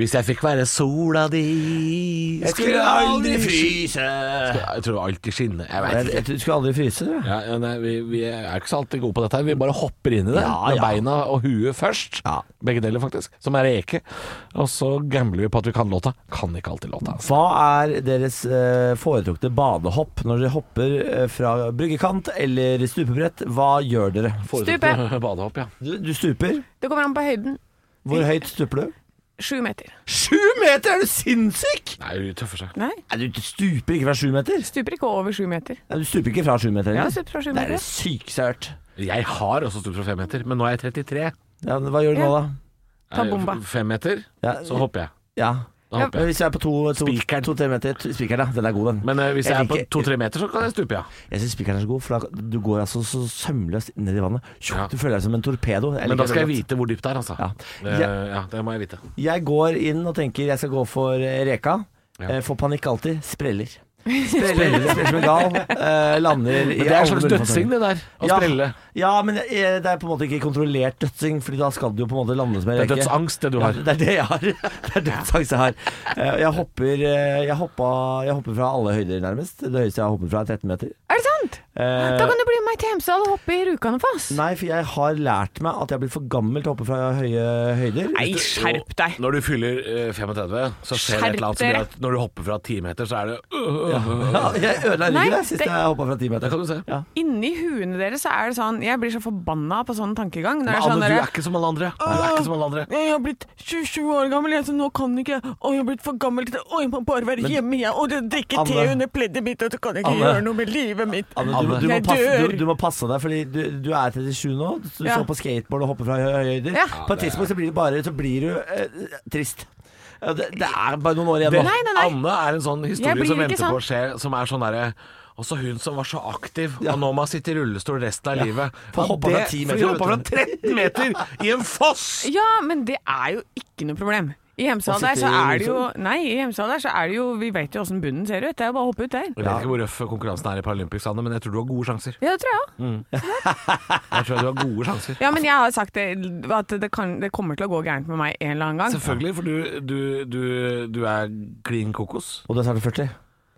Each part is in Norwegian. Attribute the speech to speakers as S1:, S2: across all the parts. S1: Hvis jeg fikk være sola di,
S2: Jeg skulle aldri
S1: fryse Jeg tror alltid skinne. Jeg
S2: Jeg,
S1: vet
S2: jeg,
S1: ikke.
S2: du skulle aldri fryse, du.
S1: Ja, ja, nei, vi, vi er ikke så alltid gode på dette. her Vi bare hopper inn i det.
S2: Ja,
S1: med
S2: ja.
S1: beina og huet først.
S2: Ja.
S1: Begge deler, faktisk. Som er reke. Og så gambler vi på at vi kan låta. Kan ikke alltid låta. altså.
S2: Hva er deres eh, foretrukne badehopp når dere hopper eh, fra bryggekant eller stupebrett? Hva gjør dere?
S3: Stupe.
S1: Badehopp, ja.
S2: Du, du stuper.
S3: Det kommer an på høyden.
S2: Hvor høyt stuper du?
S3: Sju meter.
S2: Sju meter! Er du sinnssyk?
S1: Nei, hun tøffer seg.
S3: Nei,
S2: Nei, du stuper ikke fra sju meter.
S3: stuper ikke over sju meter.
S2: Nei, du stuper ikke fra sju meter.
S3: Ja,
S2: engang.
S3: stuper fra sju
S2: det er
S3: meter.
S2: det sykeste jeg har hørt.
S1: Jeg har også stupt fra fem meter, men nå er jeg 33.
S2: Ja, men hva gjør du nå, da?
S3: Ta bomba.
S1: Eh, Fem meter,
S2: Ja,
S1: så hopper jeg.
S2: ja.
S1: Da hopper
S2: Men
S1: jeg.
S2: hvis jeg er på to-tre
S1: Spikeren.
S2: to, tre meter t- Spikeren, ja. Den er god, den.
S1: Men eh, hvis
S2: Jeg
S1: jeg er på
S2: liker-
S1: to-tre meter, så kan jeg stupe, ja.
S2: Jeg syns spikeren er så god, for da, du går altså så sømløst ned i vannet. Tjo,
S1: Ja.
S2: Du føler deg som en torpedo.
S1: Men da skal jeg
S2: vite
S1: vite hvor dypt det er, altså.
S2: Ja.
S1: Det,
S2: Ja.
S1: ja, det må jeg vite.
S2: Jeg går inn og tenker jeg skal gå for eh, reka.
S1: Ja.
S2: Eh, Får panikk alltid. Spreller. Spreller, spreller som en gal. Eh, lander
S1: Men det er en slags dødsing, det der. Å
S2: Ja.
S1: sprelle.
S2: Ja, men eh, det er på en måte ikke kontrollert dødsing, Fordi da skal du jo på en måte lande som en
S1: Det
S2: reke.
S1: er dødsangst, det du
S2: Ja,
S1: har.
S2: det er det jeg har. Det er dødsangst jeg har. Eh, Jeg hopper, eh, jeg, hoppa, jeg hopper fra alle høyder, nærmest. Det høyeste jeg har hoppet fra, er 13 meter.
S3: Er det sant?
S2: Eh,
S3: Da kan du bli med meg til Hemsedal og hoppe i Rjukanefoss.
S2: Nei, for jeg har lært meg at jeg blir for gammel til å hoppe fra høye høyder.
S3: Nei, skjerp deg.
S1: Når du fyller eh, 35, så skjer det et eller annet som gjør
S3: Skjerp dere.
S1: at når du hopper fra 10 meter, så er det øh,
S2: Ja, jeg ødela
S3: Nei,
S2: ryggen jeg, sist
S3: det-
S2: jeg hoppa fra 10
S1: Det
S2: meter.
S1: kan du se.
S2: Ja.
S3: Inni huene deres så er det sånn Jeg blir så forbanna på sånn tankegang. Når
S1: Men
S3: jeg, er sånn
S1: Anne, du
S3: der-
S1: er ikke som alle andre. Du er ikke som alle andre.
S3: jeg har blitt 27 år gammel, jeg, så nå kan ikke jeg Å, jeg har blitt for gammel til det. Å, jeg må bare være hjemme, jeg. Og drikke te
S2: Anne-
S3: under pleddet mitt, og så kan jeg ikke
S2: Anne-
S3: gjøre noe med livet mitt.
S2: Anne, du, du, må
S3: jeg
S2: passe,
S3: dør.
S2: du, du må passe deg, fordi du, du er 37 nå. Du
S3: Ja.
S2: står på skateboard og hopper fra høye høyder.
S3: Ja.
S2: På et tidspunkt så blir du bare Så blir du eh, trist. Ja, Det, det er bare noen år igjen nå.
S3: Nei, nei, nei.
S1: Anne er en sånn
S3: Jeg blir
S1: historie som
S3: ikke
S1: venter
S3: sånn.
S1: på å skje, som er sånn derre også hun som var så aktiv,
S2: Ja.
S1: og nå må hun sitte i rullestol resten av livet.
S2: for
S1: Og
S2: hoppa fra
S1: det-
S2: 10
S1: for
S2: meter,
S1: hun hoppa fra
S2: vet
S1: 13 meter i en foss!
S3: Ja, men det er jo ikke noe problem. I Hemsedal
S2: Å
S3: der
S2: sitte i
S3: så er det jo Nei, i Hemsedal der så er det jo Vi vet jo åssen bunnen ser ut. Det er jo bare å hoppe ut der.
S1: Jeg vet ikke hvor røff konkurransen er i Paralympics, Anne, men jeg tror du har gode sjanser.
S3: Ja, det tror jeg òg.
S1: Jeg tror du har gode sjanser.
S3: Ja,
S2: Altså-
S3: men jeg har sagt det, at det, kan, det kommer til å gå gærent med meg en eller annen gang.
S1: Selvfølgelig, for du, du, du, du er klin kokos.
S2: Og du er snart 40.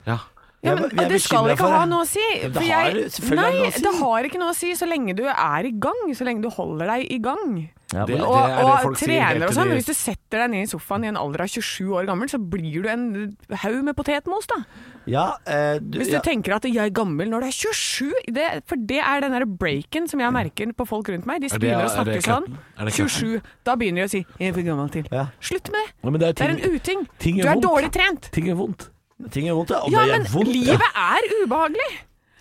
S1: Ja.
S3: Ja,
S2: Jeg
S3: men
S2: er- jeg er
S3: Det skal
S2: bekymret
S3: ikke
S2: for
S3: ha
S2: det.
S3: noe å si.
S2: det
S3: for
S2: har
S3: jeg-
S2: selvfølgelig
S3: nei,
S2: noe å si.
S3: det har ikke noe å si så lenge du er i gang. Så lenge du holder deg i gang.
S2: Ja,
S1: Det-
S2: men-
S3: Og,
S1: er det
S3: og
S1: folk sier helt
S3: trener og
S1: til
S3: sånn.
S1: de-
S3: men Hvis du setter deg ned i sofaen i en alder av 27 år gammel, så blir du en haug med potetmos, da.
S2: ja, eh, du,
S3: Hvis du
S2: ja.
S3: tenker at jeg er gammel når du er 27 det, For det er den der breaken som jeg merker på folk rundt meg. De
S1: det-
S3: begynner å
S1: er
S3: snakke
S1: det
S3: sånn.
S1: klatten? Er det klatten?
S3: 27. Da begynner de å si 'jeg er for gammel til'.
S2: Ja.
S3: Slutt med det.
S1: Ja, men det er
S3: Det er
S1: ting-
S3: en uting.
S1: ting
S3: Du
S1: gjør
S3: er
S1: vondt.
S3: dårlig trent.
S1: Ting gjør vondt.
S2: Ting gjør vondt, ja. Og
S3: Ja,
S2: det gjør
S3: men
S2: vondt, ja.
S3: livet er ubehagelig.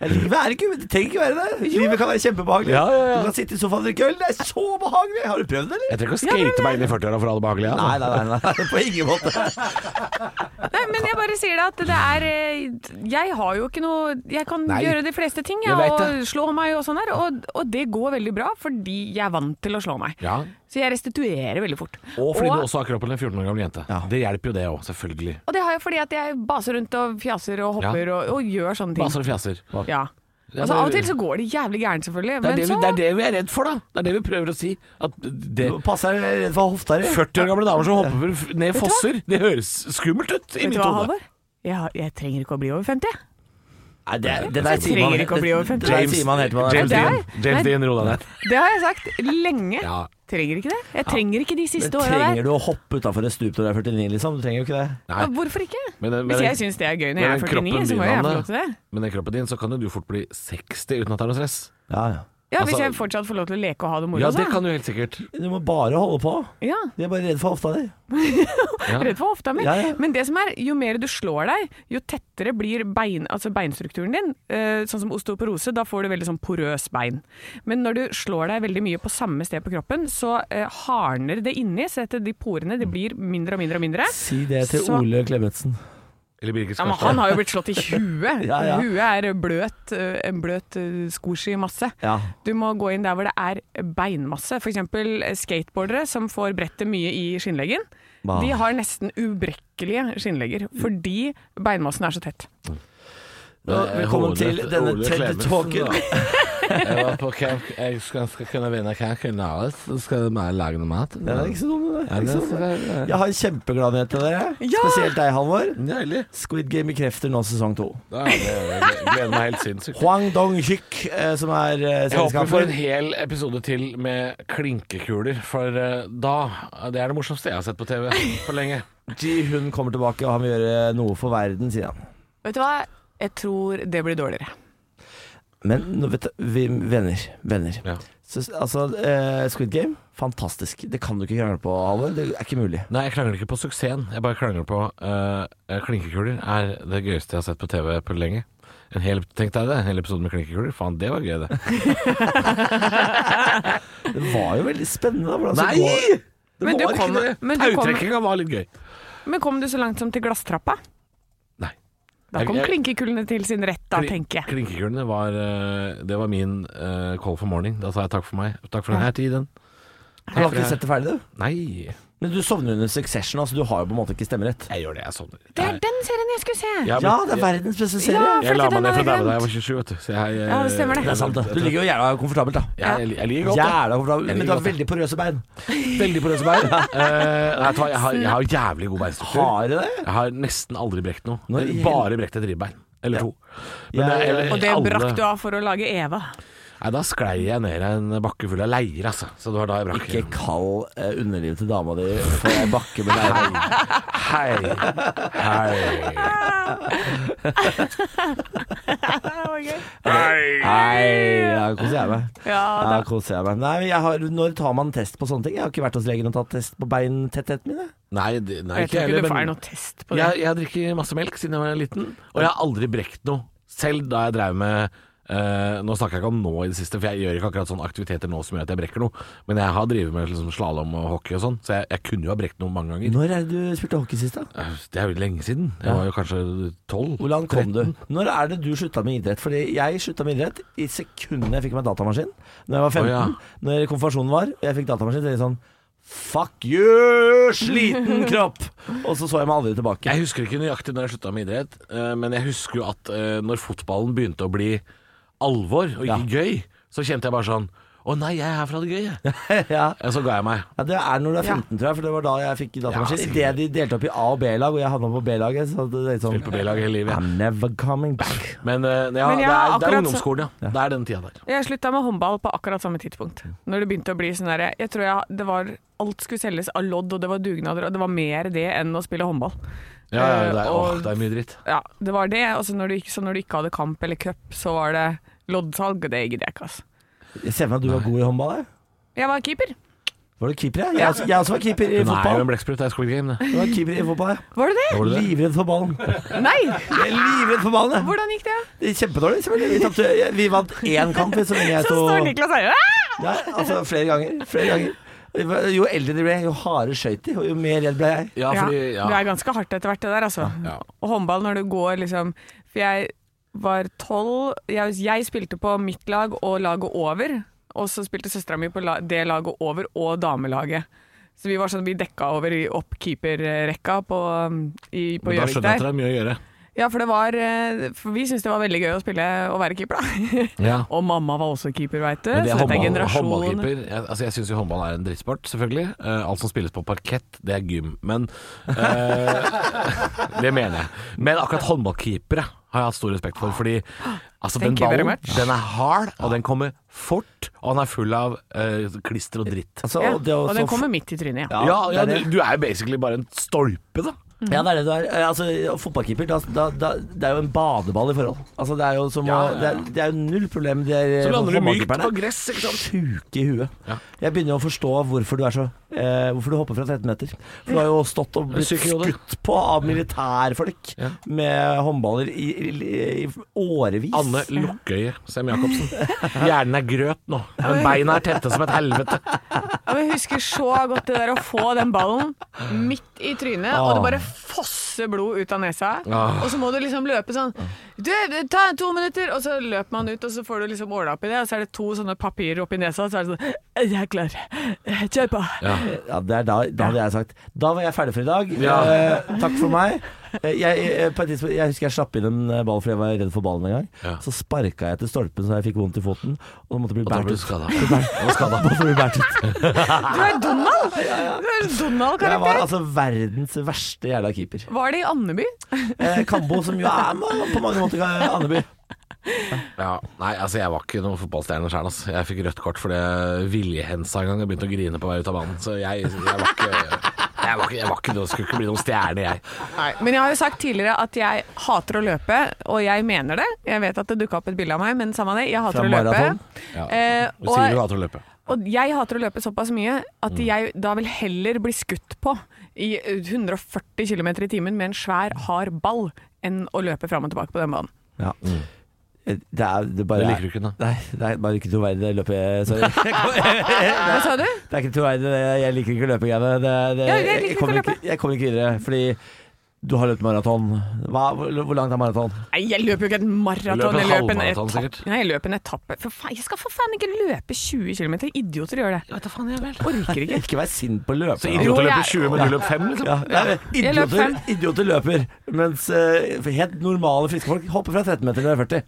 S2: Ja, Livet er ikke, det trenger ikke være det. Livet kan være kjempebehagelig.
S1: Ja, ja, ja.
S2: Du kan sitte i sofaen og drikke øl. Det er så behagelig! Har du prøvd det, eller?
S1: Jeg trenger ikke å
S3: Ja, men-
S1: skate meg inn i 40-åra for å ha det behagelig.
S2: Nei,
S1: Altså.
S2: nei, nei, nei. På ingen måte.
S3: Nei, men jeg bare sier det at det er eh, Jeg har jo ikke noe Jeg kan
S1: Nei.
S3: gjøre de fleste ting,
S1: Jeg
S3: jeg,
S1: vet
S3: og
S1: det.
S3: slå meg og sånn her. Og, og det går veldig bra, fordi jeg er vant til å slå meg.
S1: Ja.
S3: Så jeg restituerer veldig fort.
S1: Og fordi
S3: Og-
S1: du også har kroppen til en 14 år gammel jente. Det hjelper jo det òg, selvfølgelig.
S3: Og det har jeg fordi at jeg baser rundt og fjaser og hopper og, og gjør sånne ting.
S1: Baser og fjaser.
S3: Ja. Altså, av og til så går det jævlig gærent,
S1: Det er
S3: selvfølgelig.
S1: det,
S3: Men
S1: vi,
S3: så
S1: det er det vi er redd for, da. Det er det vi prøver å si. At det
S2: Passer jeg er redd for hofta di.
S1: 40 år gamle damer som hopper ned fosser, det høres skummelt ut i
S3: Vet du
S1: mitt
S3: hva,
S1: hode.
S3: Halvor? Jeg, har- jeg trenger ikke å bli over 50.
S2: Nei, det, det
S3: Så jeg trenger ikke å bli over 50.
S2: Det der sier man helt man er
S1: James
S3: Ja,
S1: Dean,
S3: det er-
S1: James
S3: Nei.
S1: Dean, ro deg ned.
S3: Det har jeg sagt lenge.
S1: Ja.
S3: Trenger ikke det. Jeg trenger ikke de
S2: Men
S3: siste åra
S2: trenger
S3: der.
S2: du å hoppe utafor et stup når du er 49, liksom? Du trenger jo ikke det.
S1: Nei.
S3: Hvorfor ikke?
S1: Men den- men
S3: Hvis
S1: den-
S3: jeg syns det er gøy når
S1: men
S3: jeg er
S1: den
S3: 49,
S1: kroppen
S3: så må jeg
S1: din,
S3: få
S1: Anne.
S3: lov til det.
S1: Med den kroppen din så kan jo du fort bli 60 uten at det er noe stress.
S2: Ja, ja.
S3: Ja,
S1: Altså-
S3: Hvis jeg fortsatt får lov til å leke og ha det moro,
S1: Ja,
S3: så.
S1: det kan du helt sikkert.
S2: Du må bare holde på.
S3: Ja,
S2: De er bare redd for hofta di.
S3: Redd for hofta mi.
S2: Ja, ja.
S3: Men det som er, jo mer du slår deg, jo tettere blir bein, altså beinstrukturen din. Eh, sånn som osteoporose, da får du veldig sånn porøs bein. Men når du slår deg veldig mye på samme sted på kroppen, så eh, hardner det inni, så at de porene de blir mindre og mindre og mindre.
S2: Si det til
S3: Så-
S2: Ole Klemetsen.
S1: Eller Birgit
S3: Ja, men
S1: Skarstad.
S3: han har jo blitt slått i huet.
S2: Ja, ja.
S3: Huet er bløt, eh, en bløt eh, skoskimasse.
S2: Ja.
S3: Du må gå inn der hvor det er beinmasse. F.eks. skateboardere som får brettet mye i skinnleggen.
S1: Ah.
S2: Bah.
S3: De har nesten ubrekkelige skinnlegger fordi beinmassen er så tett.
S1: Men, eh,
S2: Velkommen
S1: Ole-
S2: til denne
S1: Ole
S2: TED
S1: Klemetsen,
S2: Talken.
S1: da. Jeg var på camp Jeg skal, skal kunne vinne camp i Narvik, så skal du bare lage noe mat.
S2: Den er ikke så dum,
S1: Ja,
S2: den. der. Ikke
S1: det
S2: så dum.
S1: skal-
S2: Jeg har en kjempeglad nyhet til dere.
S3: Ja!
S2: Spesielt deg, Halvor.
S1: Deilig.
S2: Squid Game bekrefter nå sesong to.
S1: Ja, det gjør jeg. Jeg gleder meg helt sinnssykt.
S2: Huang Dong-hyk, eh, som er eh,
S1: Jeg håper vi får en
S2: selskapet.
S1: hel episode til med klinkekuler, for eh, da Det er det morsomste jeg har sett på TV på lenge.
S2: Ji-hun kommer tilbake, og han vil gjøre noe for verden, sier han.
S3: Vet du hva? Jeg tror det blir dårligere.
S2: Men nå vet du, vi, venner, venner.
S1: Ja.
S2: Så, altså, eh, Squid Game, fantastisk. Det kan du ikke krangle på, Halvor. Det er ikke mulig.
S1: Nei, jeg krangler ikke på suksessen. Jeg bare krangler på eh, klinkekuler er det gøyeste jeg har sett på TV på lenge. En hel, tenk deg det, en hel episode med klinkekuler. Faen, det var gøy, det.
S2: Det var jo veldig spennende. da, Hvordan
S1: Nei!
S2: Altså, det går. Det
S3: Men du
S2: var ikke
S3: kom-
S2: det.
S3: men du kom-
S1: Tautrekkinga var litt gøy.
S3: Men kom du så langt som til glasstrappa?
S1: Nei.
S3: Da
S1: Jeg-
S3: kom
S1: jeg-
S3: klinkekulene til sin rett, da,
S1: Kli-
S3: tenker jeg.
S1: Klinkekulene var eh, Det var min eh, call for morning. Da sa jeg takk for meg. Takk for denne tiden.
S2: Du har ikke sett det ferdig, du.
S1: Nei,
S2: Men du sovner under Succession, altså. Du har jo på en måte ikke stemmerett.
S1: jeg gjør det. Jeg sovner.
S3: Det er den serien jeg skulle se!
S1: Jeg,
S2: Ja,
S1: jeg,
S2: det er verdens beste serie.
S3: Ja,
S1: jeg la meg ned fra daua
S3: for at den har
S1: da jeg
S3: jeg
S1: var 27, vet du. Så jeg, eh,
S3: Ja, det stemmer det.
S2: Det er sant, det. Du ligger jo jævla komfortabelt, da.
S1: Jeg, jeg, jeg liker godt det.
S2: Jævla komfortabel,
S1: Jeg
S2: men
S1: liker
S2: du har
S1: godt det.
S2: veldig porøse bein.
S1: Veldig porøse bein. Eh, vet du hva, jeg har, jeg har jævlig god beinstruktur.
S2: Har du det?
S1: Jeg har nesten aldri brekt noe.
S2: Nå er det-
S1: Bare brekt et ribbein. Eller to. Men
S2: Ja,
S1: det-
S2: ja, ja.
S1: eller
S3: Og det
S1: alle-
S3: brakk du av for å lage Eva.
S1: Nei, da sklei jeg ned en bakke full av leir, altså. Så det var da jeg brakk.
S2: Ikke kall eh, underlivet til dama di for ei bakke med deg.
S1: Hei. Hei.
S2: Nei, da koser jeg meg.
S3: Ja,
S2: Da koser jeg meg. Nei, men jeg har, når tar man test på sånne ting? Jeg har ikke vært hos legen og tatt test på beintettheten min. jeg.
S1: Nei, det- nei
S3: jeg
S1: ikke
S3: tror ikke
S1: heller,
S3: du får
S1: men-
S3: noe test på det.
S1: Jeg, jeg drikker masse melk siden jeg var liten, og jeg har aldri brekt noe. Selv da jeg drev med eh, Nå snakker jeg ikke om nå i det siste, for jeg gjør ikke akkurat sånne aktiviteter nå som gjør at jeg brekker noe. Men jeg har drevet med liksom slalåm og hockey og sånn, så jeg, jeg kunne jo ha brekt noe mange ganger.
S2: Når er det du spilte hockey sist,
S3: Mm.
S2: da?
S1: Eh, Det er jo lenge siden. Jeg var jo kanskje tolv.
S2: Hvordan kom du? Når er det du slutta med idrett? Fordi jeg slutta med idrett i sekundet jeg fikk meg datamaskin. Når jeg var
S1: Å,
S2: 15,
S1: ja.
S2: når konfirmasjonen var, og jeg fikk datamaskin, så tenkte jeg sånn Fuck you, sliten kropp! Og så så jeg meg aldri tilbake.
S1: Jeg husker ikke nøyaktig når jeg slutta med idrett, eh, men jeg husker jo at eh, når fotballen begynte å bli alvor og ikke gøy, så kjente jeg bare sånn Å nei, jeg er her for å ha det gøy, jeg.
S2: ja.
S1: Ja, Så ga jeg meg.
S2: Ja, Det er når du er 15, tror jeg, for det var da jeg fikk datamaskin.
S1: Ja,
S2: I Idet de delte opp i A- og B-lag, og jeg havna på B-laget, så det er litt sånn
S1: Spilt på B-lag hele livet.
S2: I'm never coming back.
S1: Men, eh, ja,
S3: Men
S1: det,
S3: jeg
S1: er, det
S3: har
S1: er
S3: akkurat så-
S1: ungdomsskolen, ja. Det er den tida der.
S3: Jeg slutta med håndball på akkurat samme tidspunkt. Når det begynte å bli sånn derre Jeg tror jeg, det var Alt skulle selges av lodd, og det var dugnader, og det var mer det enn å spille håndball.
S1: Ja, ja, det,
S3: Eh,
S1: er,
S3: og-
S1: åh, det er mye dritt.
S3: Ja, det var det. Og så når du ikke, så når du ikke hadde kamp eller cup, så var det loddsalg, og det gidder jeg ikke, altså.
S2: Jeg ser for meg at du var god i håndball. Jeg.
S3: Jeg var keeper.
S2: Var du keeper? Jeg, jeg, også, jeg også var keeper i
S1: Hun er jo en
S2: fotball.
S1: blekksprut, det er Squid Game, det.
S2: Jeg var keeper i fotball, jeg.
S3: Var du det?
S1: Var det det?
S2: Livredd for ballen.
S3: Nei!
S2: Jeg er livredd for ballen, jeg.
S3: Hvordan gikk det?
S2: Det er Kjempedårlig, selvfølgelig. Vi, tapte, jeg- vi vant én kamp så lenge jeg
S3: Så står
S2: sto
S3: Niklas her. «Æ!»
S2: ja, altså, Flere ganger. Flere ganger. Jo eldre de ble, jo hardere skøyt de, og jo mer redd ble jeg.
S1: Ja,
S3: Ja,
S1: fordi ja.
S3: Det er ganske hardt etter hvert, det der, altså.
S1: ja.
S3: Og håndball når du går liksom For jeg var tolv. Jeg, jeg spilte på mitt lag og laget over. Og så spilte søstera mi på la, det laget over og damelaget. Så vi var sånn, vi dekka over i oppkeeperrekka på, um, i- på
S1: Men da
S3: Gjøvik
S1: skjønner jeg at
S3: der.
S1: det er mye å gjøre.
S3: Ja, for det var eh, For vi syntes det var veldig gøy å spille å være keeper, da.
S1: Ja.
S3: og mamma var også keeper, veit du.
S1: Men det
S3: så
S1: er
S3: dette er
S1: håndball,
S3: generasjonen.
S1: håndballkeeper jeg, altså jeg syns jo håndball er en drittsport, selvfølgelig. Eh, alt som spilles på parkett, det er gym. Men eh, Det mener jeg. Men akkurat håndballkeepere har jeg hatt stor respekt for. Fordi altså, den
S3: Thank you very
S1: ballen
S3: much.
S1: den er hard, og den kommer fort, og den er full av eh, klister og dritt.
S2: Altså,
S3: Ja,
S2: og det å
S3: og
S2: så
S3: den
S2: f-
S3: kommer midt i trynet, ja.
S1: Ja, ja,
S2: det er det.
S1: du, du er jo basically bare en stolpe, da.
S2: Ja, det er det du er. Eh, Altså, fotballkeeper, da, da, da, det er jo en badeball i forhold. Altså, det er jo som
S1: Ja,
S2: å
S1: ja, ja.
S2: Det er, det er jo null problem. De Eh, er,
S1: Så lander du mykt
S2: fotballkeeperne
S1: på gress, ikke sant.
S2: Sjuke i huet.
S1: Ja.
S2: Jeg begynner å forstå hvorfor du er så eh, Hvorfor du hopper fra 13 meter. For du har jo stått og blitt
S1: Syk i hodet.
S2: skutt på av militærfolk
S1: Ja.
S2: med håndballer i, i, i årevis.
S1: Anne Lukkøye Sem Jacobsen. Hjernen er grøt nå, men beina er tette som et helvete.
S3: Og jeg husker så godt det der å få den ballen midt i trynet, og det bare fosser blod ut av nesa.
S1: Ah.
S3: Og så må du liksom løpe sånn Du, ta to minutter! Og så løper man ut, og så får du liksom åla oppi det, og så er det to sånne papirer oppi nesa, og så er det sånn Jeg er klar. Kjør på.
S1: Ja.
S2: Ja, det er da, da hadde jeg sagt Da var jeg ferdig for i dag.
S1: Ja.
S2: Eh, takk for meg. Eh, Jeg, eh, på et tidspunkt, jeg husker jeg slapp inn en eh, ball fordi jeg var redd for ballen en gang.
S1: Ja.
S2: Så sparka jeg til stolpen så jeg fikk vondt i foten, og da måtte jeg bli
S1: Og da
S2: båret
S1: ble du
S2: ut.
S1: skada.
S2: Skada. Måtte bli båret ut.
S3: Du er Donald! Du er
S2: Jeg var
S3: Donald-karakter.
S2: altså verdens verste jævla keeper.
S3: Var det i Andeby?
S2: Eh, Kambo, som jo er ma- på mange måter eh, Andeby.
S1: Ja. Nei, altså jeg var ikke noen fotballstjerne sjøl. Altså. Jeg fikk rødt kort fordi jeg viljehensa en gang og begynte å grine på vei ut av banen. Så jeg, jeg var ikke Jeg, var ikke, jeg var ikke, noe- skulle ikke bli noen stjerne, jeg.
S3: Men jeg har jo sagt tidligere at jeg hater å løpe, og jeg mener det. Jeg vet at det dukka opp et bilde av meg, men samme det, jeg hater
S2: Fra
S3: å løpe.
S2: maraton?
S1: Ja.
S3: Eh,
S1: Du
S3: og-
S1: sier du hater å løpe.
S3: Og jeg hater å løpe såpass mye at
S1: Mm.
S3: jeg da vil heller bli skutt på i eh, 140 km i timen med en svær, hard ball enn å løpe fram og tilbake på den banen.
S2: Ja. Eh, Det er det bare
S1: Det liker du ikke, da.
S2: Nei, det er bare ikke to veier det løpet Sorry. Det
S3: Hva sa du?
S2: er ikke to veier det Jeg liker ikke løpegreiene. Det, det,
S3: Ja, jeg liker ikke å
S2: kommer
S3: løpe.
S2: jeg kommer ikke videre, fordi du har løpt maraton. Hva, hvor hvor langt er maraton?
S3: Nei, jeg løper jo ikke en
S1: Du
S3: maraton.
S1: løper en
S3: jeg løper en
S1: halvmaraton,
S3: etappe.
S1: sikkert.
S3: Nei, jeg løper en etappe. For faen, jeg skal for faen ikke løpe 20 km. Idioter gjør det.
S1: Jeg vet da faen, jeg vel.
S3: Orker ikke.
S2: Ikke vær sint på løpere.
S1: Så
S3: Jo,
S1: idioter løper
S3: jeg-
S1: 20, men du løp 5, liksom?
S2: Ja, nei,
S3: Jeg løp
S2: idioter,
S3: fem.
S2: idioter løper, mens eh, helt normale friske folk hopper fra 13 meter til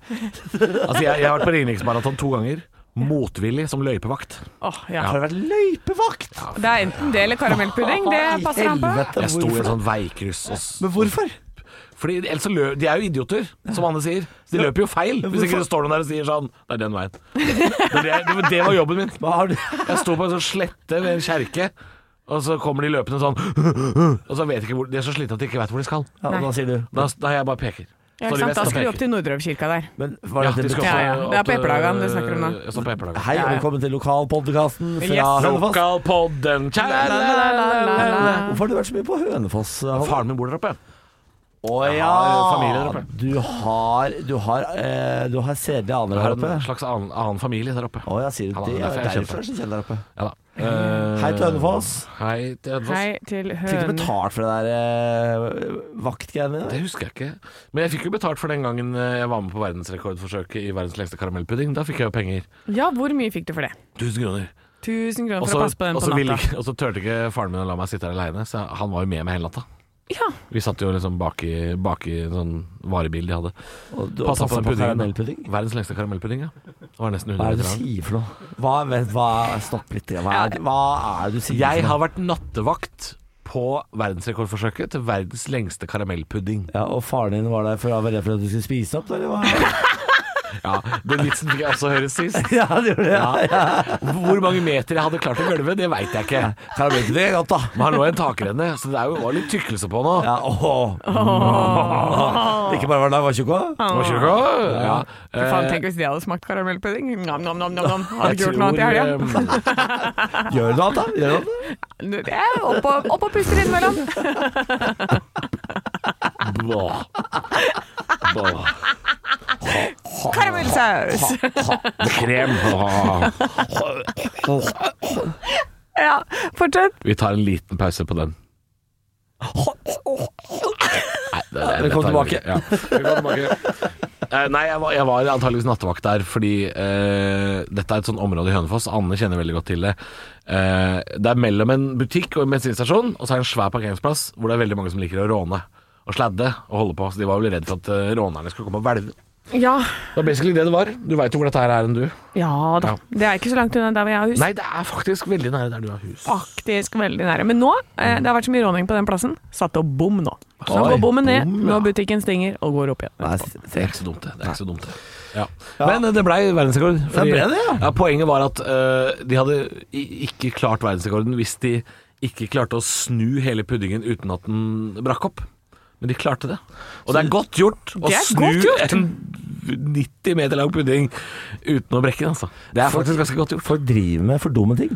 S2: 40.
S1: Altså, jeg, jeg har vært på Ringeriksmaraton to ganger. Motvillig som løypevakt.
S3: Åh, ja.
S2: Har det vært løypevakt?
S3: Det er enten det eller karamellpudding. Det
S2: I
S3: passer han på.
S2: helvete,
S1: Jeg sto i et
S2: hvorfor?
S1: sånt veikryss og s-
S2: Men hvorfor?
S1: Fordi ellers så lø De er jo idioter, som Anne sier. Så de løper jo feil.
S2: Men
S1: Hvis ikke
S2: hvorfor-
S1: det står noen der og sier sånn Det er den veien. Det, det, det, det var jobben min.
S2: Hva har du?
S1: Jeg sto på en sånn slette ved en kjerke, og så kommer de løpende sånn Og så vet ikke hvor De er så slitne at de ikke vet hvor de skal.
S2: Ja, og da sier du
S1: Da, da jeg bare peker.
S3: Ja,
S1: Står de
S3: ikke sant? Da
S1: vest og
S3: skal du
S1: peker.
S3: opp til Nordrøvkirka der.
S2: Men var
S1: Ja,
S2: det
S1: de skal
S2: det
S1: få-
S3: Ja, ja. Det er på
S1: at,
S3: Eplehagen du snakker om nå.
S1: Jeg står på Eplehagen.
S2: Hei og
S3: Ja, ja.
S2: velkommen til lokalpodkasten fra
S3: Yes.
S2: Hønefoss.
S1: Lokalpodden
S3: la.
S2: Hvorfor har du vært så mye på Hønefoss? Halvor?
S1: Faren min bor der oppe.
S2: Å ja!
S1: familie der oppe.
S2: Du har Du har, eh, du har sedelige aner
S1: Jeg
S2: der
S1: har en
S2: oppe?
S1: slags annen, annen familie der oppe.
S2: Å ja, sier du
S1: Han
S2: det?
S1: er
S2: Ja,
S1: derfor jeg kjenner
S2: derfor er det så kjent der oppe.
S1: Ja da. Eh,
S2: Hei til Hønefoss.
S1: Hei til Hønefoss.
S3: Hei til
S2: Fikk du
S3: hønen.
S2: betalt for det der eh, vaktgreiene dine?
S1: Det husker jeg ikke. Men jeg fikk jo betalt for den gangen eh, jeg var med på verdensrekordforsøket i verdens lengste karamellpudding. Da fikk jeg jo penger.
S3: Ja, hvor mye fikk du for det?
S1: 1000 kroner.
S3: Tusen kroner
S1: Og
S3: for
S1: så
S3: å passe på den
S1: og så
S3: på
S1: ville
S3: natta.
S1: ikke- og så turte ikke faren min å la meg sitte her aleine, så han var jo med meg hele natta.
S3: Ja,
S1: Vi satt jo liksom bak i, bak i en sånn varebil de hadde.
S2: Og du
S1: Passa på
S2: passet
S1: den
S2: på
S1: puddingen.
S2: karamellpudding?
S1: Verdens lengste karamellpudding, ja. Det var nesten
S2: Hva
S1: 100
S2: er
S1: meter
S2: det du
S1: lang.
S2: sier for noe? Hva, vet, hva, stopp litt. Hva er, hva er det du sier
S1: Jeg
S2: for noe?
S1: har vært nattevakt på verdensrekordforsøket til verdens lengste karamellpudding.
S2: Ja, og faren din var der for å være redd for at du skulle spise opp, eller hva?
S1: Ja, Den vitsen fikk jeg også høre sist.
S2: ja, det gjorde det. Ja.
S1: Ja. Hvor mange meter jeg hadde klart å gulve, det veit jeg ikke.
S2: Karamellpudding er godt, da.
S1: Men han lå i en takrenne, så det er jo var litt tykkelse på nå.
S2: Ja, åh. Ikke bare var det var tjukk òg?
S1: Må ikke gå. Ja.
S3: for faen,
S1: Eh,
S3: tenk hvis de hadde smakt karamellpudding. Nam, nam, nam, nam, nam. Hadde
S1: jeg
S3: ikke gjort noe annet i helga.
S1: tror, eh,
S2: Gjør du noe annet, da? Gjør du noe annet?
S3: Du, det er Opp og, opp og puster innimellom.
S1: Blah. Blah.
S3: Karamellsaus.
S1: Krem. Blah.
S3: Ja, fortsett.
S1: Vi tar en liten pause på den. Nei, det, det,
S2: Velkommen
S1: det tar vi
S2: tilbake.
S1: ikke. Ja. Velkommen tilbake. Eh, nei, jeg var, jeg var antageligvis nattevakt der, fordi eh, dette er et sånt område i Hønefoss. Anne kjenner veldig godt til det. Eh, det er mellom en butikk og en bensinstasjon, og så er det en svær parkeringsplass hvor det er veldig mange som liker å råne og sladde og holde på. Så de var vel redd for at eh, rånerne skulle komme og hvelve.
S3: Ja.
S1: Det var basically det det var. Du veit jo hvor dette her er enn du.
S3: ja da.
S1: Ja.
S3: Det er ikke så langt unna der hvor jeg har hus.
S1: Nei, det er faktisk veldig nære der du har hus.
S3: Ah, Faktisk veldig nære. Men nå,
S1: Mm.
S3: eh, det har vært så mye råning på den plassen, satte opp bom nå. Så
S2: Oi,
S3: går bommen ned
S2: bom, ja.
S3: når butikken stenger og går opp igjen.
S2: Nei,
S1: Det er
S2: se-
S1: ikke så dumt, det. det, er ikke så dumt, det. Ja. Men eh, det blei verdensrekord. fordi-
S2: ble det, ja.
S1: Poenget var at eh, de hadde i- ikke klart verdensrekorden hvis de ikke klarte å snu hele puddingen uten at den brakk opp. Men de klarte det. Og det er godt gjort å
S3: Det er
S1: snu
S3: godt gjort.
S1: en 90 meter lang pudding uten å brekke den, altså. Det er faktisk ganske godt gjort.
S2: Folk driver med for dumme ting.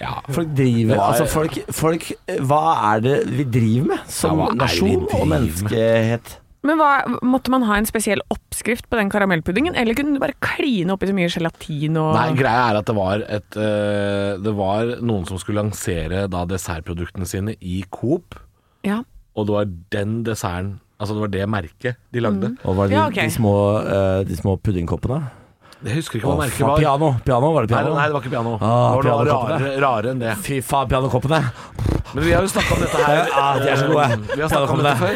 S1: Ja.
S2: Folk driver
S1: Hva er-
S2: Altså, folk, folk eh, Hva er det vi driver med som
S1: Ja, hva er det vi
S2: nasjon
S1: driver
S2: og
S1: med?
S2: menneskehet?
S3: Men hva, måtte man ha en spesiell oppskrift på den karamellpuddingen, eller kunne du bare kline oppi så mye gelatin og
S1: Nei, greia er at det var et eh, Det var noen som skulle lansere da dessertproduktene sine i Coop,
S3: Ja.
S1: og det var den desserten Altså det var det merket de lagde.
S2: Og var det
S3: Ja,
S2: de-
S3: ok.
S2: de, små, eh, de små puddingkoppene?
S3: Mm.
S1: Jeg husker ikke
S2: Å,
S1: hva merket
S2: faen,
S1: var.
S2: piano. piano. Var det
S1: Nei,
S2: piano?
S1: nei, det var ikke piano. det var
S2: Ah,
S1: noe
S2: pianokoppene.
S1: rarere, rarere enn det.
S2: Fy faen, pianokoppene!
S1: Men vi har jo snakka om dette her. Mm,
S2: Ja, de er så gode.
S1: eh, Vi har snakka om dette før.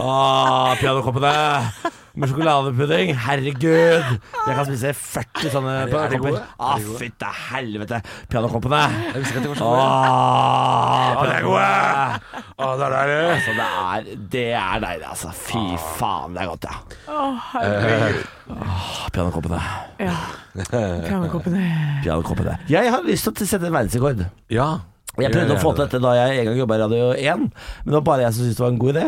S2: Åh, pianokoppene med sjokoladepudding. Herregud! Jeg kan spise 40 sånne
S1: de- er de
S2: pianokopper.
S1: gode?
S2: Å,
S1: Er de gode?
S2: fytte helvete. Pianokoppene.
S1: Jeg visste ikke at de var så gode.
S2: Åh,
S1: det Ah, er
S2: pianokoppene.
S1: Å, der er det.
S2: Altså, det er, det er deilig, altså. Fy faen, det er godt, ja. Eh, Åh, Pianokoppene.
S3: Ja. Pianokoppene.
S2: Pianokoppene. Jeg har lyst til å sette en verdensrekord.
S1: Ja.
S2: Jeg prøvde å få til dette da jeg en gang jobba i Radio 1, men det var bare jeg som syntes det var en god idé.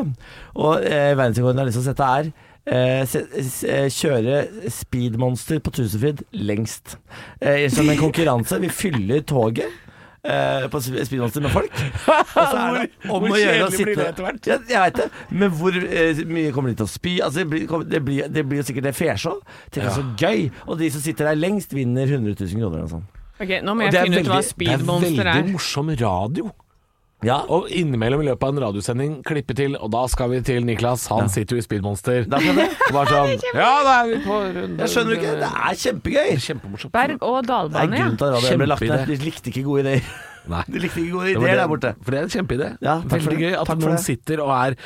S2: Og eh, verdensrekorden jeg har lyst til å sette, er eh, se, s- eh, kjøre speedmonster på Tusenfryd lengst. Eh, som en konkurranse. Vi fyller toget. eh, på sp- speedmonster med folk. Og så er det
S1: Hvor-
S2: om
S1: hvor
S2: å gjøre å
S1: kjedelig
S2: sitte
S1: blir det etter hvert?
S2: Jeg, jeg veit det. Men hvor eh, mye kommer de til å spy? Altså, det, blir, kom- det, blir, det blir jo sikkert en fesjå. Tenk så gøy. Og de som sitter der lengst, vinner 100 000 kroner eller noe sånt.
S3: Ok, nå må
S1: Og
S3: jeg
S1: det er
S3: finne ut hva
S1: veldig- Det
S3: speedmonster
S1: er
S3: er.
S1: veldig morsom radio.
S2: Ja,
S1: Og innimellom i løpet av en radiosending klippe til, og da skal vi til Niklas. Han sitter jo i Speedmonster.
S2: da skjønner jeg.
S1: Bare sånn Ja, da er vi på runde
S2: Jeg skjønner ikke. Det er kjempegøy.
S1: Kjempemorsomt.
S3: Berg- og
S2: Det er
S3: dalbane, ja.
S2: grunnen til at radioen ble lagt ned.
S1: Kjempeidé.
S2: De likte ikke gode ideer.
S1: Nei.
S2: De likte ikke gode
S1: Det var
S2: ideer
S1: det-
S2: der borte.
S1: For det er en kjempeidé.
S2: Ja, takk for
S1: Veldig
S2: det.
S1: gøy at
S2: Takk for
S1: noen
S2: det.
S1: sitter og er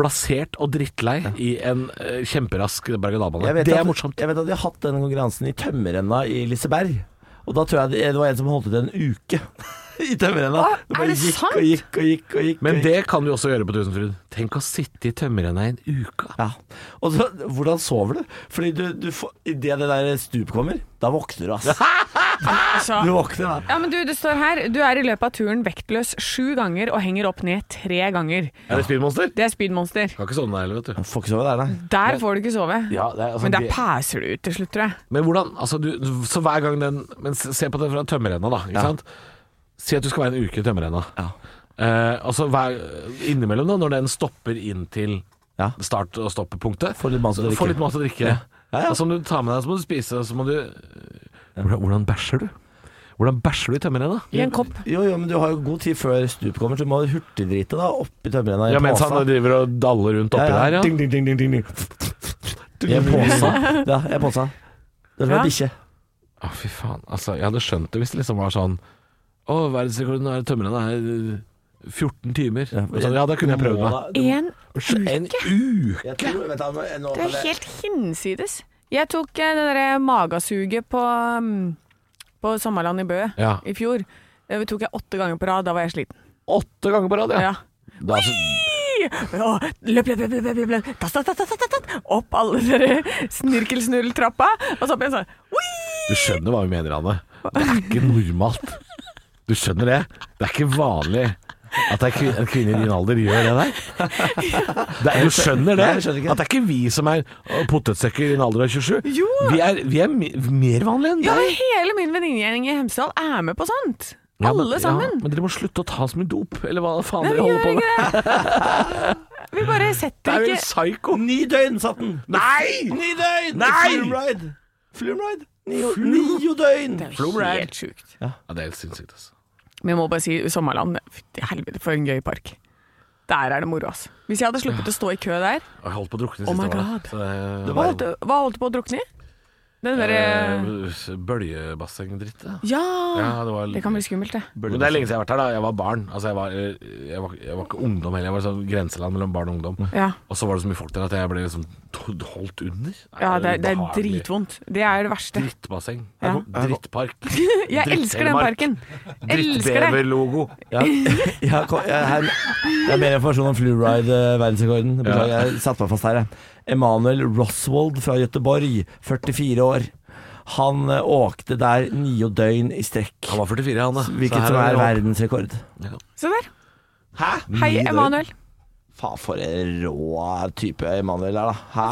S1: blasert og drittlei i en eh, kjemperask
S2: Jeg
S1: berg-og-dal-bane.
S2: vet
S1: Det er
S2: at-
S1: morsomt.
S2: Jeg vet at de har hatt den konkurransen i tømmerrenna i Liseberg. Og da tror jeg det- det var en som holdt ut en uke i tømmerrenna.
S3: Å,
S2: bare
S3: er det
S2: gikk
S3: sant?
S2: og gikk og gikk. og gikk,
S1: Men
S2: og gikk.
S1: det kan du også gjøre på Tusenfryd. Tenk å sitte i tømmerrenna i en uke.
S2: Ja. Og så, hvordan sover du? Fordi du, du får, idet det der stup kommer, da våkner du, ass.
S3: Altså,
S2: Du våkner, da.
S3: ja, men du, det står her Du er i løpet av turen vektløs sju ganger og henger opp ned tre ganger.
S1: Er det speedmonster?
S3: Det er speedmonster.
S1: Kan ikke sovne der heller, vet du.
S2: Du får ikke sove der, nei.
S3: Der får du ikke sove.
S1: Ja, det er- altså,
S3: men der
S1: det-
S3: pæser du ut til slutt, tror jeg.
S1: Men hvordan Altså, du Så hver gang den Men se se på det fra tømmerrenna, da. Ikke sant? Si at du skal være en uke i tømmerrenna.
S2: Ja.
S1: Eh, altså hver, innimellom, da, når den stopper inn til
S2: Ja.
S1: start- og stoppepunktet
S2: Får litt mat å
S1: så-
S2: drikke.
S1: Får litt Altså- mat å drikke.
S2: Ja, ja.
S1: Og så må du ta med deg, så må du spise, og så må du eh, hvordan, hvordan bæsjer du? Hvordan bæsjer du i tømmerrenna?
S3: I en kopp.
S2: Jo, jo, men du har jo god tid før stup kommer, så du må hurtigdrite da, oppi tømmerrenna. i en
S1: Ja, mens han
S2: påse.
S1: driver og daller rundt oppi der, ja.
S2: Ding, ding, ding, ding, ding, ding. Jeg påsa. Ja, jeg påsa. Det var
S3: Ja.
S2: bikkje.
S1: Å, fy faen. Altså, jeg hadde skjønt det hvis det liksom var sånn Å, verdensrekorden er i tømmerrenna er eh, 14 timer. Ja, sånn, ja, da kunne jeg prøvd meg.
S3: En
S1: En uke!
S2: Jeg tror, vent, da, nå,
S3: Det er helt hinsides. Jeg tok eh, det derre magasuget på, mm, på Sommerland i Bø
S1: Ja.
S3: i fjor. Det tok jeg åtte ganger på rad. Da var jeg sliten.
S1: Åtte ganger på rad, ja.
S3: Ja.
S1: Da, altså,
S3: Ja, løp, løp, løp, løp, løp, løp, løp. Tass, tass, tass, tass, tass, tass. Opp alle dere snirkelsnurltrappa, og så opp igjen sånn. Wii!
S1: Du skjønner hva vi mener, Anne. Det er ikke normalt. Du skjønner det? Det er ikke vanlig at ei kvin- en kvinne i din alder gjør det der. Det er, du skjønner det?
S2: Nei, jeg skjønner ikke.
S1: At det er ikke vi som er å, potetsekker i din alder av 27.
S3: Jo.
S1: Vi er, vi er me- mer vanlige enn
S3: Ja, men
S1: deg.
S3: hele min venninnegjeng i Hemsedal er med på sånt.
S1: Ja, men-
S3: Alle
S1: Ja,
S3: sammen.
S1: men dere må slutte å ta så mye dop, eller hva faen
S3: Nei,
S1: dere
S3: vi
S1: holder på
S3: gjør
S1: med.
S3: ikke det. Vi bare
S1: Det er
S3: setter
S1: jo en
S3: ikke
S1: psyko.
S2: Ni døgn satt den!
S1: Nei!
S2: Ni døgn!
S1: Nei!
S2: Flumride! Flumride? Nio, nio døgn!
S3: Det er jo helt sjukt.
S1: Ja, det er helt sinnssykt, altså.
S3: Men jeg må bare si Sommerland, fytti helvete for en gøy park. Der er det moro, altså. Hvis jeg hadde sluppet å stå i kø der
S1: Og Jeg holdt på å drukne
S3: Oh
S1: siste
S3: my
S1: året.
S3: God.
S1: Så eh, det-
S2: Det
S3: Hva holdt, hva holdt du på å drukne i? Den derre
S1: Eh, Bøljebassengdritt, ja.
S3: ja,
S1: Ja, det var
S3: Det kan bli skummelt, det.
S1: Men det er lenge siden jeg har vært her. da Jeg var barn. Altså, jeg, var, eh, jeg, var, jeg var ikke ungdom heller. Jeg var sånn grenseland mellom barn og ungdom.
S3: Ja,
S1: Og så var det så mye folk der at jeg ble liksom to- holdt under. Nei,
S3: ja det, er- det er
S1: ubehagelig.
S3: dritvondt. Det er det verste.
S1: Drittbasseng.
S3: Ja.
S1: Drittpark.
S3: Jeg elsker den
S1: Drittelemark.
S3: parken. Elsker det.
S1: Drittbeverlogo.
S2: Ja, jeg, har ko- jeg, her, jeg har mer informasjon om Fluride-verdensrekorden. Beklager, jeg satte meg fast her. jeg. Emanuel Roswald fra Gøteborg, 44 år. Han eh, åkte der nio døgn i strekk.
S1: Han var 44, han da. Så her
S2: Hvilket som
S1: det
S2: er
S1: opp.
S2: verdensrekord.
S3: Se der.
S2: Hæ?
S3: Hei, Emanuel.
S2: Faen, for en rå type Emanuel er, da. Hæ?